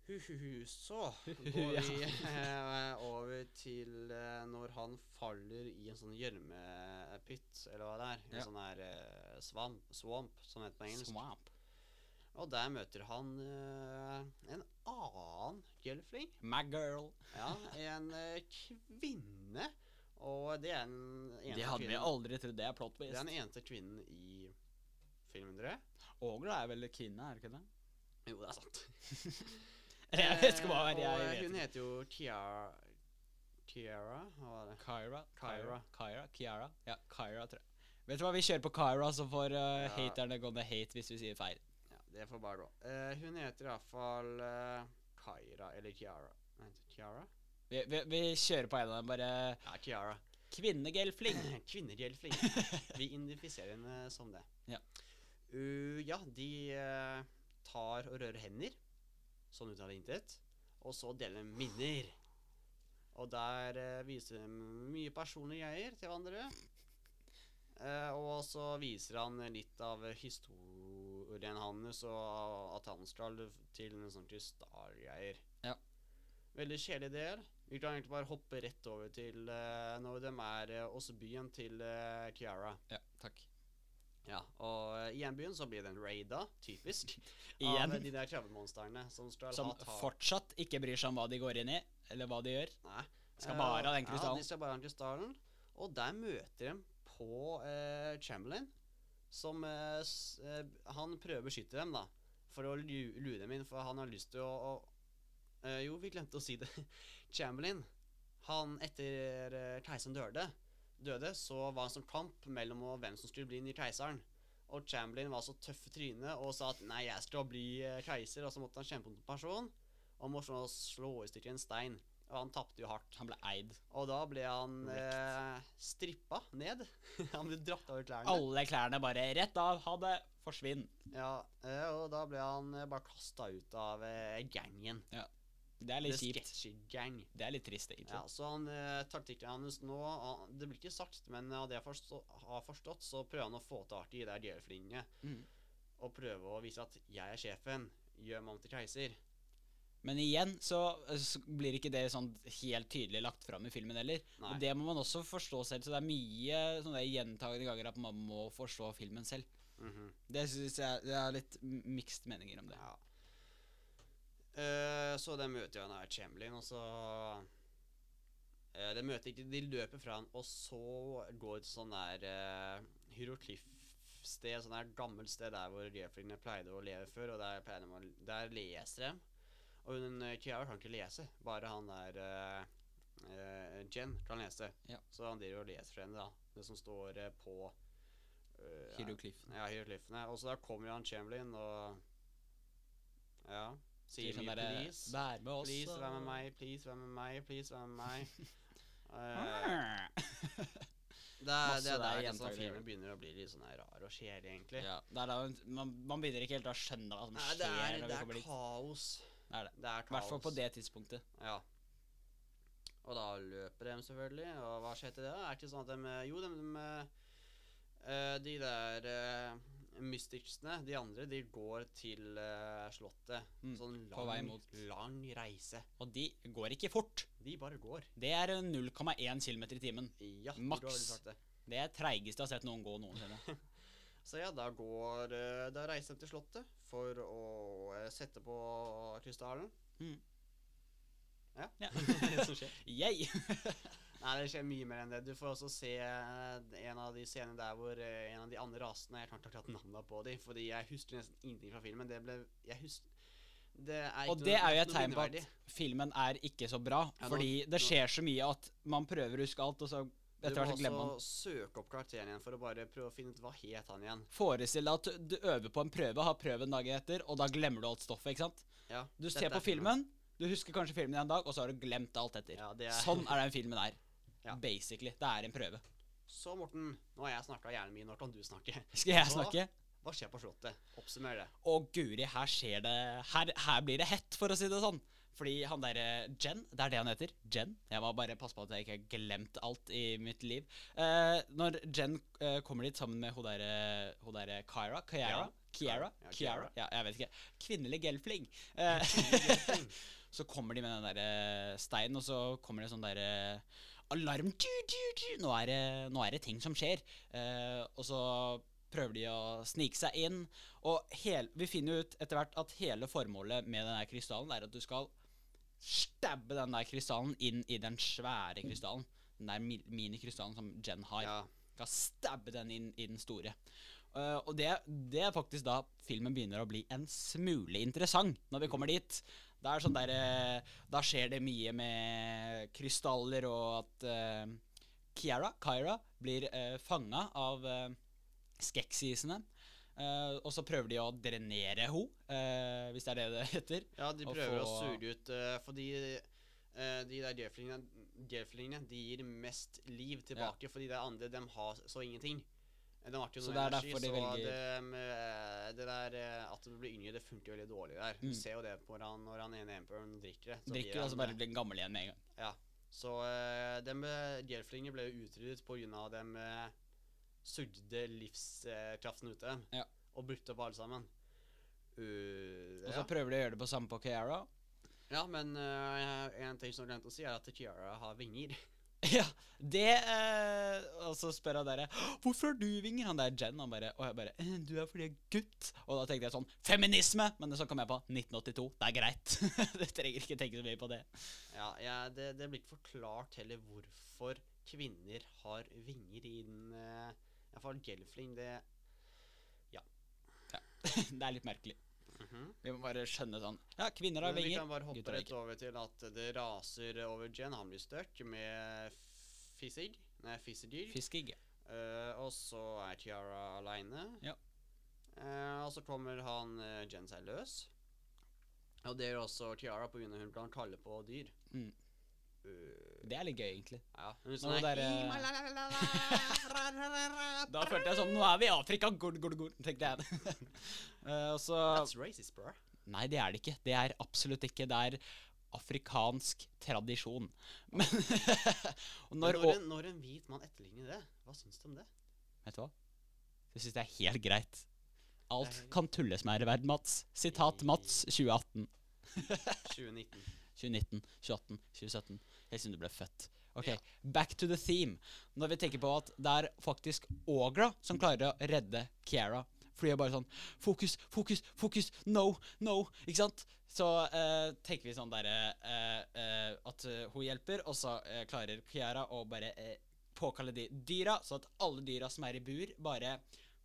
Speaker 1: Huhuhu, så
Speaker 2: ja.
Speaker 1: går vi eh, over til eh, når han faller i en sånn gjørmepytt, eller hva det er. En
Speaker 2: Ja.
Speaker 1: sånn her eh, svamp, swamp, som det heter på engelsk.
Speaker 2: Swamp.
Speaker 1: Og der møter han eh, en annen Gylfling.
Speaker 2: My girl.
Speaker 1: Ja, en eh, kvinne. Og det er den
Speaker 2: Det
Speaker 1: eneste
Speaker 2: hadde vi
Speaker 1: kvinnen,
Speaker 2: aldri trodd. Det er plot
Speaker 1: det er
Speaker 2: twist.
Speaker 1: den eneste kvinnen i filmen, tror jeg.
Speaker 2: Ågla er vel kvinne, er det ikke det?
Speaker 1: Jo, det er sant.
Speaker 2: Eller jeg vet ikke hva
Speaker 1: Eh,
Speaker 2: det er.
Speaker 1: Og
Speaker 2: Jeg
Speaker 1: hun
Speaker 2: vet ikke.
Speaker 1: heter jo Tiara Tiara, hva var det?
Speaker 2: Kyra.
Speaker 1: Kyra.
Speaker 2: Kyra. Kiara. Ja, Kyra, tror jeg. Vet du hva, vi kjører på Kyra, så får eh,
Speaker 1: Ja.
Speaker 2: haterne gå ned hate hvis vi sier feil.
Speaker 1: Ja, det får bare gå. Eh, hun heter iallfall uh, Kyra eller Kiara. Nei, Tiara?
Speaker 2: Vi, vi, vi kjører på en av dem, bare
Speaker 1: Ja, Kiara.
Speaker 2: Kvinnegelfling.
Speaker 1: Kvinnereell flink. Vi identifiserer henne som det.
Speaker 2: Ja.
Speaker 1: Uh, ja, de eh, tar og rører hender, sånn ut av det intet, og så deler de minner. Og der eh, viser de mye personlige greier til hverandre. Eh, og så viser han litt av historien hans, og at han skal til en sånn til Star-greier.
Speaker 2: Ja.
Speaker 1: Veldig kjedelig del. Vi kan egentlig bare hoppe rett over til eh, når de er eh, hos byen til eh, Kiara.
Speaker 2: Ja, takk.
Speaker 1: Ja, og eh, i hjembyen så blir den raida, typisk, av eh,
Speaker 2: Igjen.
Speaker 1: de der krabbemonstrene som skal
Speaker 2: Som
Speaker 1: ha tak.
Speaker 2: fortsatt ikke bryr seg om hva de går inn i, eller hva de gjør.
Speaker 1: Nei.
Speaker 2: Skal
Speaker 1: Eh,
Speaker 2: bare ha den
Speaker 1: Ja,
Speaker 2: krystallen.
Speaker 1: de skal bare ha den krystallen. Og der møter de på eh, Chamberlain, som eh, s eh, Han prøver å beskytte dem, da, for å lu lure dem inn, for han har lyst til å, å eh, Jo, vi glemte å si det. Chamberlain, han etter eh, keiseren døde, døde, så var det en sånn kamp mellom og hvem som skulle bli ny keiseren. Og Chamberlain var så tøff i trynet og sa at 'nei, jeg skal bli eh, keiser', og så måtte han kjempe mot en person. Og måtte så slå i stykker en stein. Og han tapte jo hardt.
Speaker 2: Han ble eid.
Speaker 1: Og da ble han
Speaker 2: Korrekt.
Speaker 1: eh, strippa ned. han ble dratt over klærne.
Speaker 2: Alle klærne bare rett av, ha det, forsvinn.
Speaker 1: Ja, eh, og da ble han eh, bare kasta ut av eh, gangen.
Speaker 2: Det
Speaker 1: The
Speaker 2: er litt kjipt.
Speaker 1: Sketchy Gang.
Speaker 2: Det er litt trist, egentlig.
Speaker 1: Ja, så han eh, taktikken hans nå han, Det blir ikke sagt, men av det jeg forstå, har forstått, så prøver han å få tak i de der djevelflingene.
Speaker 2: Mhm.
Speaker 1: Og prøve å vise at 'jeg er sjefen'. Gjør meg om til keiser.
Speaker 2: Men igjen så, så blir ikke det sånn helt tydelig lagt fram i filmen heller.
Speaker 1: Nei.
Speaker 2: Og det må man også forstå selv, så det er mye sånne der gjentagende ganger at man må forstå filmen selv.
Speaker 1: Mhm.
Speaker 2: Det syns jeg det er litt mixed meninger om det.
Speaker 1: Ja. Eh, så de møter jo han her Chamberlain, og så Eh, De møter ikke De løper fra han, og så går de til sånn der uh, hieroglyfsted, sånn der gammelt sted der hvor Jeffreyene pleide å leve før, og der, pleier de å, der leser de. Og hun eh, Kiara kan ikke lese, bare han der eh, eh, Jen kan lese.
Speaker 2: Ja.
Speaker 1: Så han driver og leser for henne, da. Det som står eh, på eh, ja,
Speaker 2: Hieroglyfen.
Speaker 1: ja, hieroglyfene. Og så der kommer han Chamberlain og Ja. Sier
Speaker 2: Sier sånn
Speaker 1: mye
Speaker 2: derre,
Speaker 1: please.
Speaker 2: Vær med oss.
Speaker 1: please,
Speaker 2: og-
Speaker 1: vær med meg, please, vær med meg, please, vær med meg. Eh,
Speaker 2: Ah.
Speaker 1: det er, det
Speaker 2: Masse
Speaker 1: er
Speaker 2: der
Speaker 1: der liksom,
Speaker 2: gjentagelige
Speaker 1: filmen
Speaker 2: øyeblikk.
Speaker 1: begynner å bli litt sånn her rar og kjedelig, egentlig.
Speaker 2: Ja, det er da man, man begynner ikke helt å skjønne hva som
Speaker 1: Nei,
Speaker 2: skjer.
Speaker 1: det er,
Speaker 2: når vi
Speaker 1: det er
Speaker 2: kommer dit.
Speaker 1: kaos.
Speaker 2: Det er det.
Speaker 1: Det er
Speaker 2: I hvert fall på
Speaker 1: kaos.
Speaker 2: det tidspunktet.
Speaker 1: Ja. Og da løper de selvfølgelig, og hva skjer til det? Er det ikke sånn at de Jo, de, de, eh, de der eh, mysticsene, de andre, de går til eh, slottet.
Speaker 2: Mm,
Speaker 1: Sånn lang,
Speaker 2: på vei mot-
Speaker 1: lang reise.
Speaker 2: Og de går ikke fort.
Speaker 1: De bare går.
Speaker 2: Det er eh, 0,1 km i timen.
Speaker 1: Ja, du
Speaker 2: Maks.
Speaker 1: har veldig sagt det.
Speaker 2: Det er treigeste jeg har sett noen gå noensinne.
Speaker 1: Så ja, da går eh, Da reiser de til slottet for å eh, sette på krystallen.
Speaker 2: Mm.
Speaker 1: Ja.
Speaker 2: Ja.
Speaker 1: det som skjer.
Speaker 2: Yay!
Speaker 1: Nei, det skjer mye mer enn det. Du får også se eh, en av de scenene der hvor eh, en av de andre rasene Jeg kan ikke akkurat navnene på dem, fordi jeg husker nesten ingenting fra filmen. Det ble Jeg husker Det er
Speaker 2: Og
Speaker 1: ikke
Speaker 2: det
Speaker 1: noe-
Speaker 2: er jo et
Speaker 1: noe
Speaker 2: tegn på at
Speaker 1: minneverdig.
Speaker 2: filmen er ikke så bra.
Speaker 1: Ja, nå-
Speaker 2: Fordi det
Speaker 1: nå-
Speaker 2: skjer så mye at man prøver å huske alt, og så etter hvert så
Speaker 1: Du
Speaker 2: glemmer
Speaker 1: må
Speaker 2: man.
Speaker 1: også søke opp karakteren igjen for å bare prøve å finne ut hva het han igjen.
Speaker 2: Forestill deg at du øver på en prøve, har prøven dagen etter, og da glemmer du alt stoffet. ikke sant?
Speaker 1: Ja,
Speaker 2: Du
Speaker 1: dette
Speaker 2: ser
Speaker 1: er
Speaker 2: på filmen, du husker kanskje filmen en dag, og så har du glemt alt etter.
Speaker 1: Ja, det er
Speaker 2: Sånn er den filmen her.
Speaker 1: Ja.
Speaker 2: Basically. Det er en prøve.
Speaker 1: Så, Morten, nå har jeg snakka hjernen min. Når kan du snakke?
Speaker 2: Skal jeg
Speaker 1: Hva?
Speaker 2: snakke?
Speaker 1: Hva skjer på Slottet? Oppsummer det.
Speaker 2: Å, guri, her skjer det her, her blir det hett, for å si det sånn. Fordi han derre Jen, det er det han heter. Jen. Jeg må bare passe på at jeg ikke har glemt alt i mitt liv. Eh, når Jen eh, kommer dit sammen med hun derre hun derre Kyra Kiara?
Speaker 1: Ja,
Speaker 2: Kiara?
Speaker 1: Ja,
Speaker 2: Kiara?
Speaker 1: Kiara.
Speaker 2: Ja, jeg vet ikke. Kvinnelig gelfling. Eh, så kommer de med den derre steinen, og så kommer det sånn derre alarm. Du, du, du. Nå, er det, nå er det ting som skjer. Eh, og så prøver de å snike seg inn. Og hel, vi finner jo ut etter hvert at hele formålet med denne krystallen er at du skal stabbe den der krystallen inn i den svære krystallen. Den der mi- minikrystallen som Jen har.
Speaker 1: Ja.
Speaker 2: Skal stabbe den inn i den store. Eh, og det, det er faktisk da filmen begynner å bli en smule interessant, når vi kommer dit. Det er sånn der, eh, da skjer det mye med krystaller, og at eh, Kiara, Kyra blir uh, fanga av uh, skeksisene. Eh, og så prøver de å drenere henne, hvis det er det det heter.
Speaker 1: Ja, de
Speaker 2: å
Speaker 1: prøver å
Speaker 2: få-
Speaker 1: sure ut eh, Fordi eh, de der djeflingene, djeflingene De gir mest liv tilbake, fordi de andre dem har så ingenting. Eh, De har ikke
Speaker 2: Så
Speaker 1: noe
Speaker 2: det er
Speaker 1: energi,
Speaker 2: derfor
Speaker 1: så
Speaker 2: de velger-
Speaker 1: dem, eh, det der eh, at du blir yngre, det funker veldig dårlig der.
Speaker 2: Mm.
Speaker 1: Du ser jo det på han når han ene emperøren drikker det. blir
Speaker 2: Drikker og så
Speaker 1: han, eh,
Speaker 2: bare blir den gammel igjen med en gang.
Speaker 1: Så uh, dem eh, djelflinger ble jo utryddet pga. dem uh, sugde livskraften ut av dem.
Speaker 2: Ja.
Speaker 1: Og brukte opp alle sammen. Eh,
Speaker 2: Og
Speaker 1: ja.
Speaker 2: så prøver de å gjøre det på samme på Kiara.
Speaker 1: Ja, men eh, en ting som jeg glemte å si, er at Kiara har vinger.
Speaker 2: Ja, det eh, Og så spør han derre Hvorfor har du vinger? Han der Jen. Han bare, og jeg bare «Eh, Du er fordi jeg er gutt. Og da tenkte jeg sånn Feminisme! Men så kom jeg på 1982. Det er greit. du trenger ikke tenke så mye på det.
Speaker 1: Ja, ja det, det blir ikke forklart heller hvorfor kvinner har vinger i den uh, Iallfall Gelfling, det
Speaker 2: det er litt merkelig.
Speaker 1: Mhm.
Speaker 2: Vi må bare skjønne sånn Ja, kvinner har
Speaker 1: Men vi
Speaker 2: vinger.
Speaker 1: kan bare hoppe
Speaker 2: gutter har
Speaker 1: rett
Speaker 2: ikke.
Speaker 1: over til at det raser over Jen. Han blir stuck med Fizzig. Nei, Fizzigyr.
Speaker 2: Fiskegg.
Speaker 1: Eh, og så er Tiara aleine.
Speaker 2: Ja.
Speaker 1: Eh, og så kommer han eh, Jen seg løs. Og det gjør også Tiara pga. hun kan kalle på dyr.
Speaker 2: Mm.
Speaker 1: Eh,
Speaker 2: Det er litt gøy, egentlig.
Speaker 1: ja. Hun
Speaker 2: Men
Speaker 1: sånn
Speaker 2: det
Speaker 1: der,
Speaker 2: der, eh, Da
Speaker 1: That's
Speaker 2: følte jeg sånn Nå er vi i Afrika! Gord, gord, gord, tenkte jeg. Eh, og så
Speaker 1: racist, bro.
Speaker 2: Nei, det er det ikke. Det er absolutt ikke. Det er afrikansk tradisjon. Men og
Speaker 1: Når,
Speaker 2: når,
Speaker 1: når,
Speaker 2: å-
Speaker 1: en, når en hvit mann etterligner det, hva syns du om det?
Speaker 2: Vet du hva? Jeg syns det er helt greit. Alt
Speaker 1: Det er-
Speaker 2: kan tulles med her i verden, Mats. Sitat Mats 2018.
Speaker 1: 2019.
Speaker 2: 2019, 2018, 2017. Helt siden du ble født. Ok, Back to the theme. Når vi tenker på at det er faktisk Ågra som klarer å redde Kiara. Fordi jeg bare sånn Fokus, fokus, fokus! No, no! Ikke sant? Så eh, tenker vi sånn derre eh, eh, At eh, hun hjelper, og så eh, klarer Kiara å bare eh, påkalle de dyra, så at alle dyra som er i bur, bare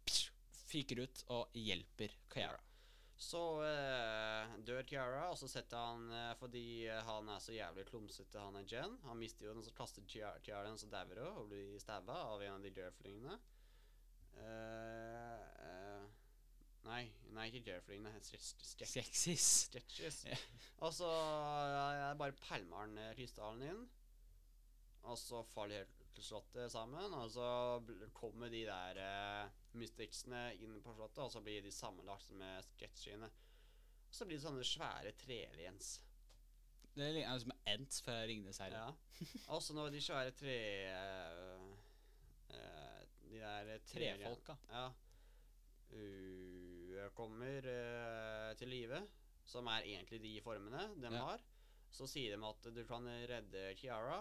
Speaker 2: psh, fyker ut og hjelper Kiara.
Speaker 1: Så eh, dør Tiara, og så setter han eh, Fordi eh, han er så jævlig klumsete, han er Jen. Han mister jo den, så kaster Tiara Tiara den, så dauer hun og blir stabba av en av de dørflingene. Eh, eh, nei, nei, ikke dørflingene. Stretches.
Speaker 2: Skreksis.
Speaker 1: stretches.
Speaker 2: Ja.
Speaker 1: Og så eh, bare pælmer han eh, krystallen inn. Og så faller hele slottet sammen, og så bl- kommer de der eh, mysticsene inn på slottet, og så blir de sammenlagt med sketsjene. Og så blir det sånne svære treliens.
Speaker 2: Det ligner som Ents fra Ringenes herre.
Speaker 1: Ja. Og så når de svære tre... eh, eh, de der trelien-
Speaker 2: Trefolka.
Speaker 1: Ja. Uh, kommer eh, til live, som er egentlig de formene de
Speaker 2: Ja.
Speaker 1: har. Så sier de at du kan redde Kiara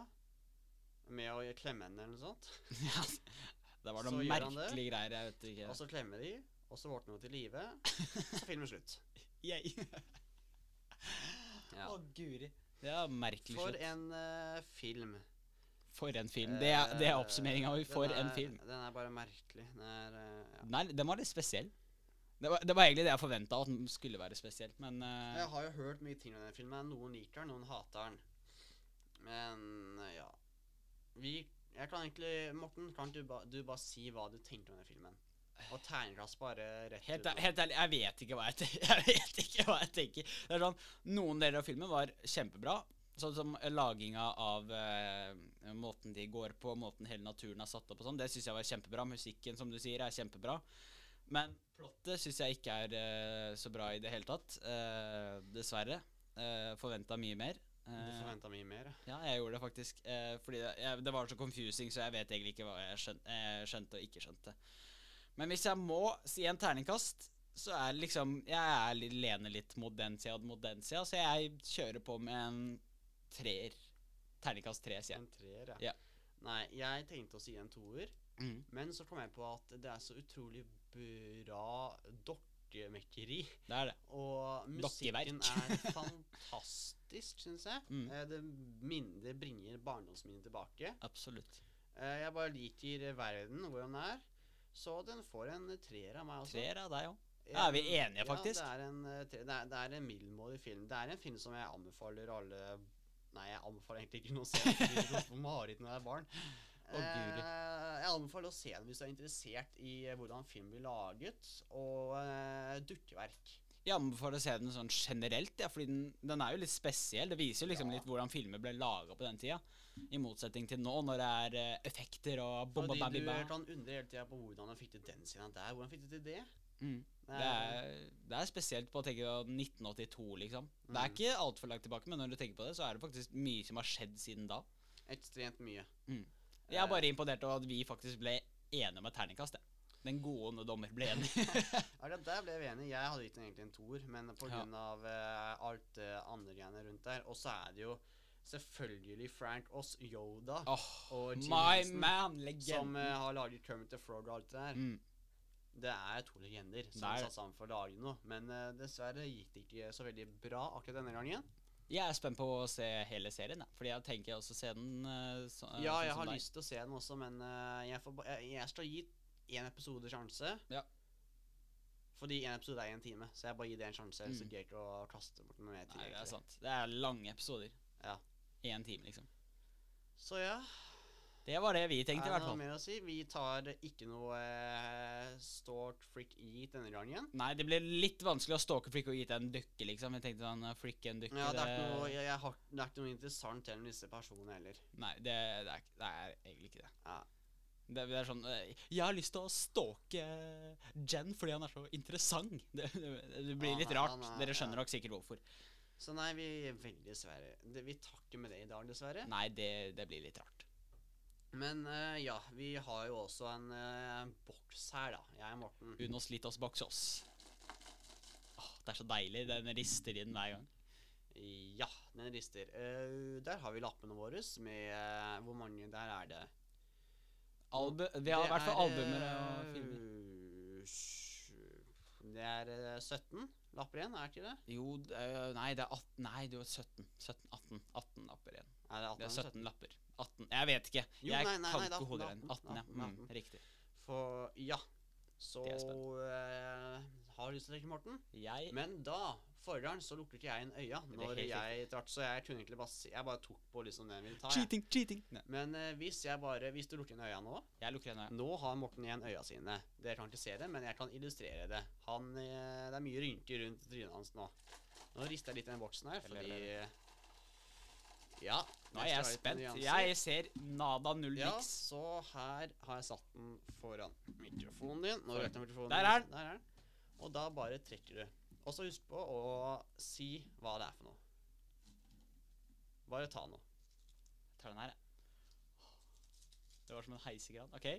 Speaker 1: med å klemme henne eller noe sånt.
Speaker 2: Ja, det var
Speaker 1: Så
Speaker 2: noen
Speaker 1: gjør han det. Altså,
Speaker 2: merkelige greier. Jeg vet ikke.
Speaker 1: Og så klemmer de, og så våkner hun til live. Så filmen slutt.
Speaker 2: Yay.
Speaker 1: Ja.
Speaker 2: Å, guri. Det er merkelig
Speaker 1: For
Speaker 2: slutt.
Speaker 1: en eh, film.
Speaker 2: For en film. Det er, det er
Speaker 1: Eh,
Speaker 2: oppsummeringa.
Speaker 1: den
Speaker 2: For en
Speaker 1: er-
Speaker 2: film.
Speaker 1: Den er bare merkelig. Den er, eh, ja.
Speaker 2: Nei, den var litt spesiell. Det var, det var egentlig det jeg forventa, at den skulle være spesielt, men eh,
Speaker 1: Jeg har jo hørt mye ting om den filmen. Noen liker den, noen hater den. Men eh, ja Vi Jeg kan egentlig Morten, kan ikke du, ba, du bare si hva du tenkte om den filmen? Og terningkast bare rett
Speaker 2: Helt,
Speaker 1: ut.
Speaker 2: æ- helt ærlig, jeg vet ikke hva jeg, te- jeg vet ikke hva jeg tenker. Det er sånn, Noen deler av filmen var kjempebra. Sånn som laginga av eh, måten de går på, måten hele naturen er satt opp og sånn. Det syns jeg var kjempebra. Musikken, som du sier, er kjempebra. Men plottet syns jeg ikke er eh, så bra i det hele tatt. Eh, dessverre. Uh, Forventa mye mer.
Speaker 1: Du
Speaker 2: Eh,
Speaker 1: forventa mye mer.
Speaker 2: ja, jeg gjorde det faktisk. Eh, fordi det, jeg, det var så confusing, så jeg vet egentlig ikke hva jeg skjønte, eh, skjønte og ikke skjønte. Men hvis jeg må si en terningkast, så er det liksom Jeg er litt, lener litt mot den sida og mot den sida, så jeg kjører på med en treer. Terningkast tre, sier jeg.
Speaker 1: En treer,
Speaker 2: Ja.
Speaker 1: Nei, jeg tenkte å si en toer,
Speaker 2: Mhm.
Speaker 1: men så kom jeg på at det er så utrolig bra dokkemekkeri.
Speaker 2: Det er det.
Speaker 1: Og
Speaker 2: Dokkeverk.
Speaker 1: musikken er fantastisk, syns jeg.
Speaker 2: Mm.
Speaker 1: Eh, Det minner- det bringer barndomsminnet tilbake.
Speaker 2: Absolutt.
Speaker 1: Eh, Jeg bare liker verden, hvordan den er. Så den får en treer av meg også.
Speaker 2: Treer av deg òg.
Speaker 1: Ja,
Speaker 2: er vi enige, faktisk?
Speaker 1: Ja, det er en, eh, tre, det er, det er en middelmådig film. Det er en film som jeg anbefaler alle Nei, jeg anbefaler egentlig ikke noen å se den. fordi det går på mareritt når jeg er barn.
Speaker 2: Å, guri.
Speaker 1: Eh, jeg anbefaler å se den hvis du er interessert i eh, hvordan film blir laget, og eh, dukkeverk.
Speaker 2: Jeg anbefaler å se den sånn generelt, ja, fordi den, den er jo litt spesiell. Det viser jo liksom
Speaker 1: Ja.
Speaker 2: litt hvordan filmer ble laga på den tida. I motsetning til nå, når det er eh, effekter og bomba
Speaker 1: Fordi
Speaker 2: babby
Speaker 1: du
Speaker 2: ba.
Speaker 1: kan undre hele tida på hvordan han fikk til den scenen der. Hvordan fikk de til det?
Speaker 2: Mm.
Speaker 1: Det
Speaker 2: Det er,
Speaker 1: Eh.
Speaker 2: det er spesielt på å tenke på 1982, liksom. Det er
Speaker 1: Mm.
Speaker 2: ikke altfor langt tilbake, men når du tenker på det, så er det faktisk mye som har skjedd siden da.
Speaker 1: ekstremt mye.
Speaker 2: Mm. Jeg er
Speaker 1: Eh,
Speaker 2: bare imponert over at vi faktisk ble enige om et terningkast. jeg. Den gode dommer ble enig.
Speaker 1: Akkurat der ble vi enige. Jeg hadde gitt den egentlig en toer, men pga.
Speaker 2: Ja.
Speaker 1: av eh, alt det andre greiene rundt der. Og så er det jo selvfølgelig Frank Oss Yoda
Speaker 2: Åh,
Speaker 1: og Jim
Speaker 2: Oh, my
Speaker 1: Henson,
Speaker 2: man,
Speaker 1: som eh,
Speaker 2: legenden.
Speaker 1: har laget Kermit the Frog og alt det der.
Speaker 2: Mm.
Speaker 1: Det er to legender som
Speaker 2: Det er
Speaker 1: er
Speaker 2: det.
Speaker 1: satt sammen for å lage noe. Men eh, dessverre gikk det ikke så veldig bra akkurat denne gangen.
Speaker 2: Jeg er spent på å se hele serien, jeg, fordi jeg tenker også å se den eh, så, eh,
Speaker 1: Ja,
Speaker 2: sånn
Speaker 1: jeg
Speaker 2: som
Speaker 1: har
Speaker 2: deg.
Speaker 1: lyst til å se den også, men eh, jeg, får, ba- jeg, jeg skal gi én episode sjanse.
Speaker 2: Ja.
Speaker 1: Fordi én episode er én time, så jeg bare gir det en sjanse. ellers
Speaker 2: Mm.
Speaker 1: gidder jeg ikke å kaste bort noe mer tid.
Speaker 2: Nei, det
Speaker 1: egentlig.
Speaker 2: er sant. Det er lange episoder.
Speaker 1: Ja.
Speaker 2: Én time, liksom.
Speaker 1: Så ja,
Speaker 2: Det var det vi
Speaker 1: er
Speaker 2: tenkte, i
Speaker 1: det
Speaker 2: hvert
Speaker 1: noe
Speaker 2: fall.
Speaker 1: mer å si? Vi tar ikke noe eh, stort freak eat denne gangen.
Speaker 2: Nei, det ble litt vanskelig å stalke Frikk og gi deg en dukke, liksom. Jeg tenkte sånn, Frikk en dukke
Speaker 1: Ja, det er
Speaker 2: eh,
Speaker 1: ikke noe, jeg, jeg har, det er ikke noe interessant gjennom disse personene heller.
Speaker 2: Nei, det, det, er, det er egentlig ikke det.
Speaker 1: Ja.
Speaker 2: Det, det er sånn eh, Jeg har lyst til å stalke eh, Jen fordi han er så interessant. Det, det, det blir
Speaker 1: Han
Speaker 2: litt
Speaker 1: er-
Speaker 2: rart.
Speaker 1: han er-
Speaker 2: Dere
Speaker 1: ja.
Speaker 2: skjønner nok sikkert hvorfor.
Speaker 1: Så nei, vi veldig dessverre. Det, vi tar ikke med det i dag, dessverre.
Speaker 2: Nei, det, det blir litt rart.
Speaker 1: Men eh, ja, vi har jo også en eh, boks her, da. Jeg og Morten.
Speaker 2: Unos litos boxos. Åh, det er så deilig. Den rister i den hver gang.
Speaker 1: Ja, den rister. Eh, der har vi lappene våre med eh, Hvor mange der er det?
Speaker 2: Albu vi har i
Speaker 1: Det
Speaker 2: hvert fall
Speaker 1: er,
Speaker 2: albumer og
Speaker 1: eh,
Speaker 2: filmer.
Speaker 1: sju- Det er eh, 17 lapper igjen, er det ikke det?
Speaker 2: Jo, d- øh, nei, det er 18 Nei, det var 17. 17 18, 18 lapper igjen.
Speaker 1: Er det 18
Speaker 2: Det er
Speaker 1: eller
Speaker 2: 17 lapper. 18 Jeg vet ikke.
Speaker 1: Jo,
Speaker 2: jeg
Speaker 1: nei, nei,
Speaker 2: kan
Speaker 1: nei, det er
Speaker 2: ikke
Speaker 1: 18,
Speaker 2: hodet
Speaker 1: 18,
Speaker 2: 18, ja.
Speaker 1: 18,
Speaker 2: Mm,
Speaker 1: 18.
Speaker 2: riktig.
Speaker 1: For ja. Så
Speaker 2: Det er
Speaker 1: eh, har du lyst til å trekke, Morten?
Speaker 2: Jeg
Speaker 1: Men da, forrige gang, så lukket ikke jeg inn øya
Speaker 2: er
Speaker 1: når
Speaker 2: helt
Speaker 1: jeg trakk, så jeg kunne egentlig bare si Jeg bare tok på liksom den jeg ville ta. jeg.
Speaker 2: Cheating, cheating. Ah, Nei,
Speaker 1: Men eh, hvis jeg bare Hvis du lukker inn øya nå,
Speaker 2: jeg lukker øynene.
Speaker 1: Nå har Morten igjen øya sine. Dere kan ikke se det, men jeg kan illustrere det. Han, eh, det er mye rynker rundt trynet hans nå. Nå rister jeg litt i den boksen her,
Speaker 2: Eller,
Speaker 1: fordi Ja.
Speaker 2: Nå er jeg
Speaker 1: skal ha litt
Speaker 2: spent.
Speaker 1: nyanser.
Speaker 2: Jeg ser nada null
Speaker 1: ja,
Speaker 2: niks.
Speaker 1: så her har jeg satt den foran mikrofonen din. Nå
Speaker 2: Foran.
Speaker 1: vet jeg mikrofonen din.
Speaker 2: Der er den.
Speaker 1: Der er den. Og da bare trekker du. Og så husk på å si hva det er for noe. Bare ta noe.
Speaker 2: Jeg tar den her, jeg. Det var som en heisegran. OK.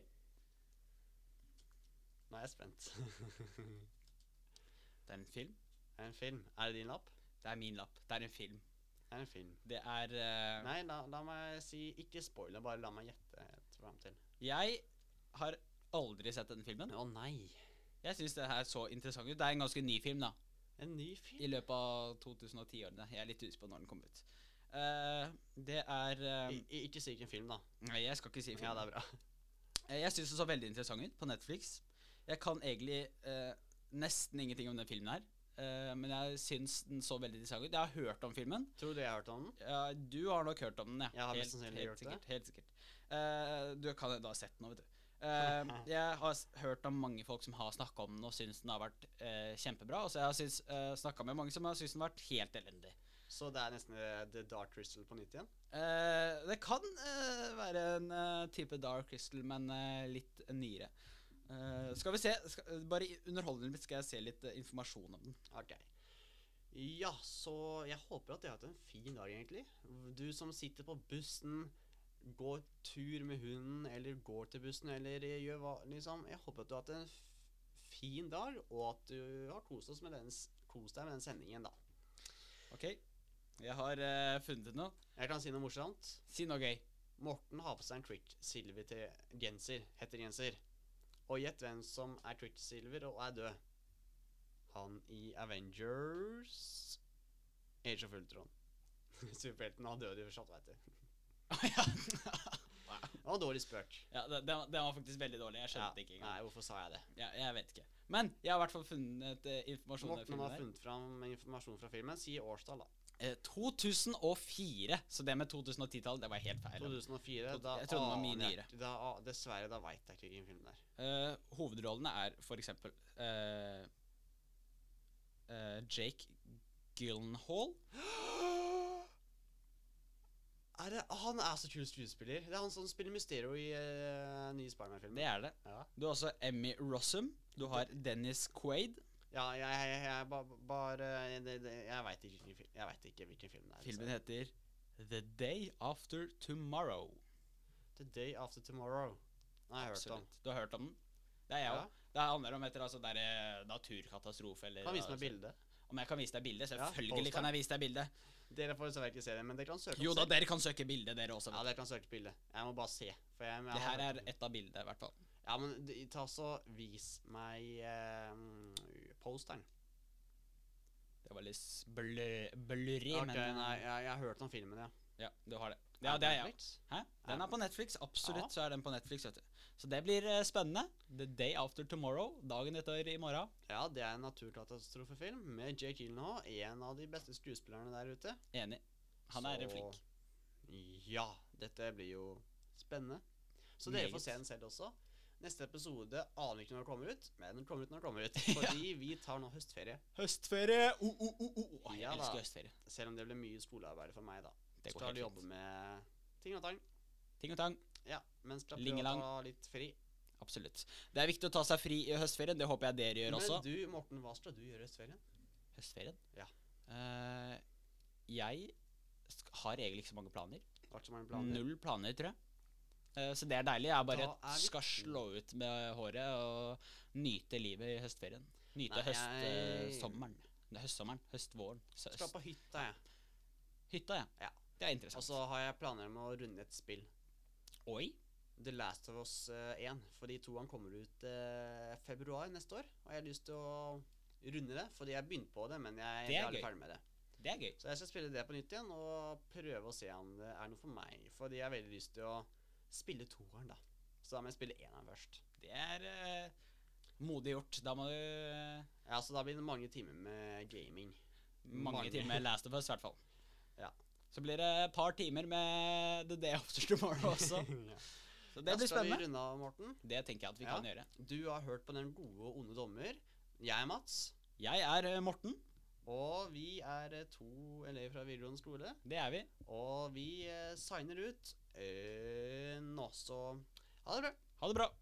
Speaker 1: Nå er jeg spent.
Speaker 2: Det er en film.
Speaker 1: Det er en film. Er det din lapp?
Speaker 2: Det er min lapp. Det er en film.
Speaker 1: Det er en film.
Speaker 2: Det er øh,
Speaker 1: Nei, la, la meg si Ikke spoil det, bare la meg gjette helt fram til.
Speaker 2: Jeg har aldri sett denne filmen.
Speaker 1: Å nei.
Speaker 2: Jeg syns det her så interessant ut. Det er en ganske ny film, da.
Speaker 1: En ny
Speaker 2: I
Speaker 1: film?
Speaker 2: løpet av 2010-årene. Jeg er litt usikker på når den kom ut. Eh, det er eh,
Speaker 1: I, i, ikke si hvilken film, da.
Speaker 2: Nei, jeg skal ikke si
Speaker 1: Ja, det
Speaker 2: filmen.
Speaker 1: er bra.
Speaker 2: Eh, jeg syns den så veldig interessant ut på Netflix. Jeg kan egentlig eh, nesten ingenting om den filmen her. eh, men jeg syns den så veldig interessant ut. Jeg har hørt om filmen.
Speaker 1: Tror du jeg har hørt om den?
Speaker 2: Ja, du har nok hørt om den, ja.
Speaker 1: Jeg har mest sannsynlig
Speaker 2: helt
Speaker 1: gjort det.
Speaker 2: sikkert, Helt sikkert. Eh, du kan da ha sett den òg, vet du. Eh, jeg har s- hørt om mange folk som har snakka om den og syns den har vært eh, kjempebra. Og så jeg har syns- eh, snakka med mange som har syntes den har vært helt elendig.
Speaker 1: Så det er nesten eh, The Dark Crystal på nytt igjen?
Speaker 2: Eh, det kan eh, være en eh, type Dark Crystal, men eh, litt nyere. Eh, skal vi se skal, Bare i- underholdende litt, skal jeg se litt eh, informasjon om den.
Speaker 1: Ok. Ja, så jeg håper at dere har hatt en fin dag, egentlig. Du som sitter på bussen, går tur med hunden, eller går til bussen, eller gjør hva liksom. Jeg håper at du har hatt en f- fin dag, og at du har kost oss med den, s- kost deg med den sendingen, da.
Speaker 2: Ok, jeg har eh, funnet ut noe.
Speaker 1: Jeg kan si noe morsomt.
Speaker 2: Si noe gøy.
Speaker 1: Morten har på seg en Trick Silver til genser, hettergenser. Og gjett hvem som er Quicksilver og er død. Han i Avengers Age of Ultron. Superhelten han døde jo fortsatt, veit du.
Speaker 2: ja,
Speaker 1: Det var dårlig spurt.
Speaker 2: ja den, den den var faktisk veldig dårlig. Jeg skjønte
Speaker 1: Ja.
Speaker 2: ikke
Speaker 1: Nei,
Speaker 2: engang.
Speaker 1: hvorfor sa jeg det?
Speaker 2: Ja, jeg vet ikke. Men jeg har i hvert fall funnet eh, informasjon om den
Speaker 1: Morten
Speaker 2: filmen
Speaker 1: har
Speaker 2: der.
Speaker 1: funnet fram informasjon fra filmen. Si årstall, da.
Speaker 2: Eh, 2004. Så det med 2010-tall, det var helt feil.
Speaker 1: 2004. Da
Speaker 2: Jeg trodde den var mye
Speaker 1: aner jeg
Speaker 2: nyere.
Speaker 1: ikke- Da, a- dessverre, da veit jeg ikke hvilken film det er.
Speaker 2: Eh, hovedrollene er for eksempel eh, eh, Jake Gyllenhaal.
Speaker 1: er det, han er så kul skuespiller. Det er han som spiller Mysterio i uh, nye Spiderman-filmer.
Speaker 2: Det er det.
Speaker 1: Ja.
Speaker 2: Du har også Emmy Rossum. Du har Dennis Quaid.
Speaker 1: Ja, jeg, jeg, jeg, jeg ba- bare det, det, Jeg veit ikke, hvilken fil- jeg vet ikke hvilken film det er.
Speaker 2: Filmen heter The Day After Tomorrow.
Speaker 1: altså. The Day After Tomorrow. Nei, jeg har hørt om.
Speaker 2: Absolutt. Du har hørt om den? Det er jeg òg.
Speaker 1: Ja.
Speaker 2: Det handler om etter altså, der, eh, naturkatastrofe eller
Speaker 1: Kan vise meg
Speaker 2: altså,
Speaker 1: bildet.
Speaker 2: Om jeg kan vise deg bildet?
Speaker 1: Ja,
Speaker 2: Selvfølgelig
Speaker 1: post
Speaker 2: kan
Speaker 1: det.
Speaker 2: jeg vise deg bildet.
Speaker 1: Dere får dessverre ikke se det, men dere kan søke opp
Speaker 2: Jo da,
Speaker 1: selv.
Speaker 2: dere kan søke bildet, dere også.
Speaker 1: Ja, dere kan søke opp bildet. Jeg må bare se. For jeg, men jeg
Speaker 2: det
Speaker 1: har
Speaker 2: her
Speaker 1: hørt
Speaker 2: er
Speaker 1: om det.
Speaker 2: ett av bildene, i hvert fall.
Speaker 1: Ja, men d- ta så vis meg eh, posteren.
Speaker 2: Det var litt blø, blurry,
Speaker 1: Ok,
Speaker 2: men
Speaker 1: nei, jeg, jeg har hørt om filmen, ja.
Speaker 2: Ja, du har det. Ja, det er jeg. Hæ? Den
Speaker 1: Ja.
Speaker 2: er på Netflix. Absolutt
Speaker 1: Ja.
Speaker 2: så er den på Netflix. vet du. Så det blir eh, spennende. The Day After Tomorrow. Dagen etter i morgen.
Speaker 1: Ja, det er en naturkatastrofefilm med Jake Gyllenhaal, en av de beste skuespillerne der ute.
Speaker 2: Enig. Han er
Speaker 1: Så-
Speaker 2: flink.
Speaker 1: Ja, dette blir jo spennende. Så dere får
Speaker 2: Meget.
Speaker 1: se den selv også. Neste episode aner ikke når den kommer ut, men den kommer ut når den kommer ut.
Speaker 2: Ja.
Speaker 1: Fordi vi tar nå høstferie.
Speaker 2: Høstferie! Oh, oh, oh, oh. Å, jeg
Speaker 1: Ja da.
Speaker 2: elsker høstferie.
Speaker 1: Selv om det blir mye skolearbeid for meg, da.
Speaker 2: Det går
Speaker 1: Skal
Speaker 2: helt
Speaker 1: jobbe
Speaker 2: fint.
Speaker 1: med ting og tang.
Speaker 2: Ting og tang.
Speaker 1: Ja, men skal prøve å
Speaker 2: Lingelang.
Speaker 1: ta litt fri.
Speaker 2: Absolutt. Det er viktig å ta seg fri i høstferien. Det håper jeg dere gjør
Speaker 1: Men
Speaker 2: også.
Speaker 1: du, Morten, hva skal du gjøre i høstferien?
Speaker 2: Høstferien?
Speaker 1: Ja.
Speaker 2: Eh, jeg sk- har egentlig ikke så mange planer.
Speaker 1: Har ikke så mange planer.
Speaker 2: Null planer, tror jeg. Eh, så det er deilig. Jeg bare
Speaker 1: Da er vi
Speaker 2: skal
Speaker 1: to.
Speaker 2: slå ut med håret og nyte livet i høstferien. Nyte
Speaker 1: Nei,
Speaker 2: høstsommeren.
Speaker 1: jeg-
Speaker 2: sommeren Det er høstsommeren. Høstvåren. Så
Speaker 1: Skal
Speaker 2: Høst.
Speaker 1: på hytta, jeg.
Speaker 2: Hytta, ja.
Speaker 1: Ja.
Speaker 2: Det er interessant.
Speaker 1: Og så har jeg planer om å runde et spill.
Speaker 2: Oi.
Speaker 1: The Last of Us eh, 1. For de to han kommer ut eh, februar neste år. Og jeg har lyst til å runde det, fordi jeg begynte på det, men jeg
Speaker 2: Det er
Speaker 1: jeg aldri
Speaker 2: gøy.
Speaker 1: ferdig med det.
Speaker 2: Det er gøy.
Speaker 1: Så jeg skal spille det på nytt igjen og prøve å se om det er noe for meg. Fordi jeg har veldig lyst til å spille toeren, da. Så da må jeg spille eneren først.
Speaker 2: Det er eh, modig gjort. Da må du eh,
Speaker 1: Ja, Så da blir det mange timer med gaming.
Speaker 2: mange,
Speaker 1: Mange.
Speaker 2: timer med Last of Us, i hvert fall.
Speaker 1: Ja.
Speaker 2: Så blir det et par timer med The Day After Tomorrow også.
Speaker 1: Ja.
Speaker 2: Så det
Speaker 1: Da
Speaker 2: blir
Speaker 1: skal vi
Speaker 2: spennende.
Speaker 1: runde av, Morten.
Speaker 2: Det tenker jeg at vi
Speaker 1: Ja.
Speaker 2: kan gjøre.
Speaker 1: Du har hørt på Den gode og onde dommer. Jeg er Mats.
Speaker 2: Jeg er eh, Morten.
Speaker 1: Og vi er eh, to elever fra videregående skole.
Speaker 2: Det er vi.
Speaker 1: Og vi eh, signer ut eh, nå, så ha det bra.
Speaker 2: Ha det bra.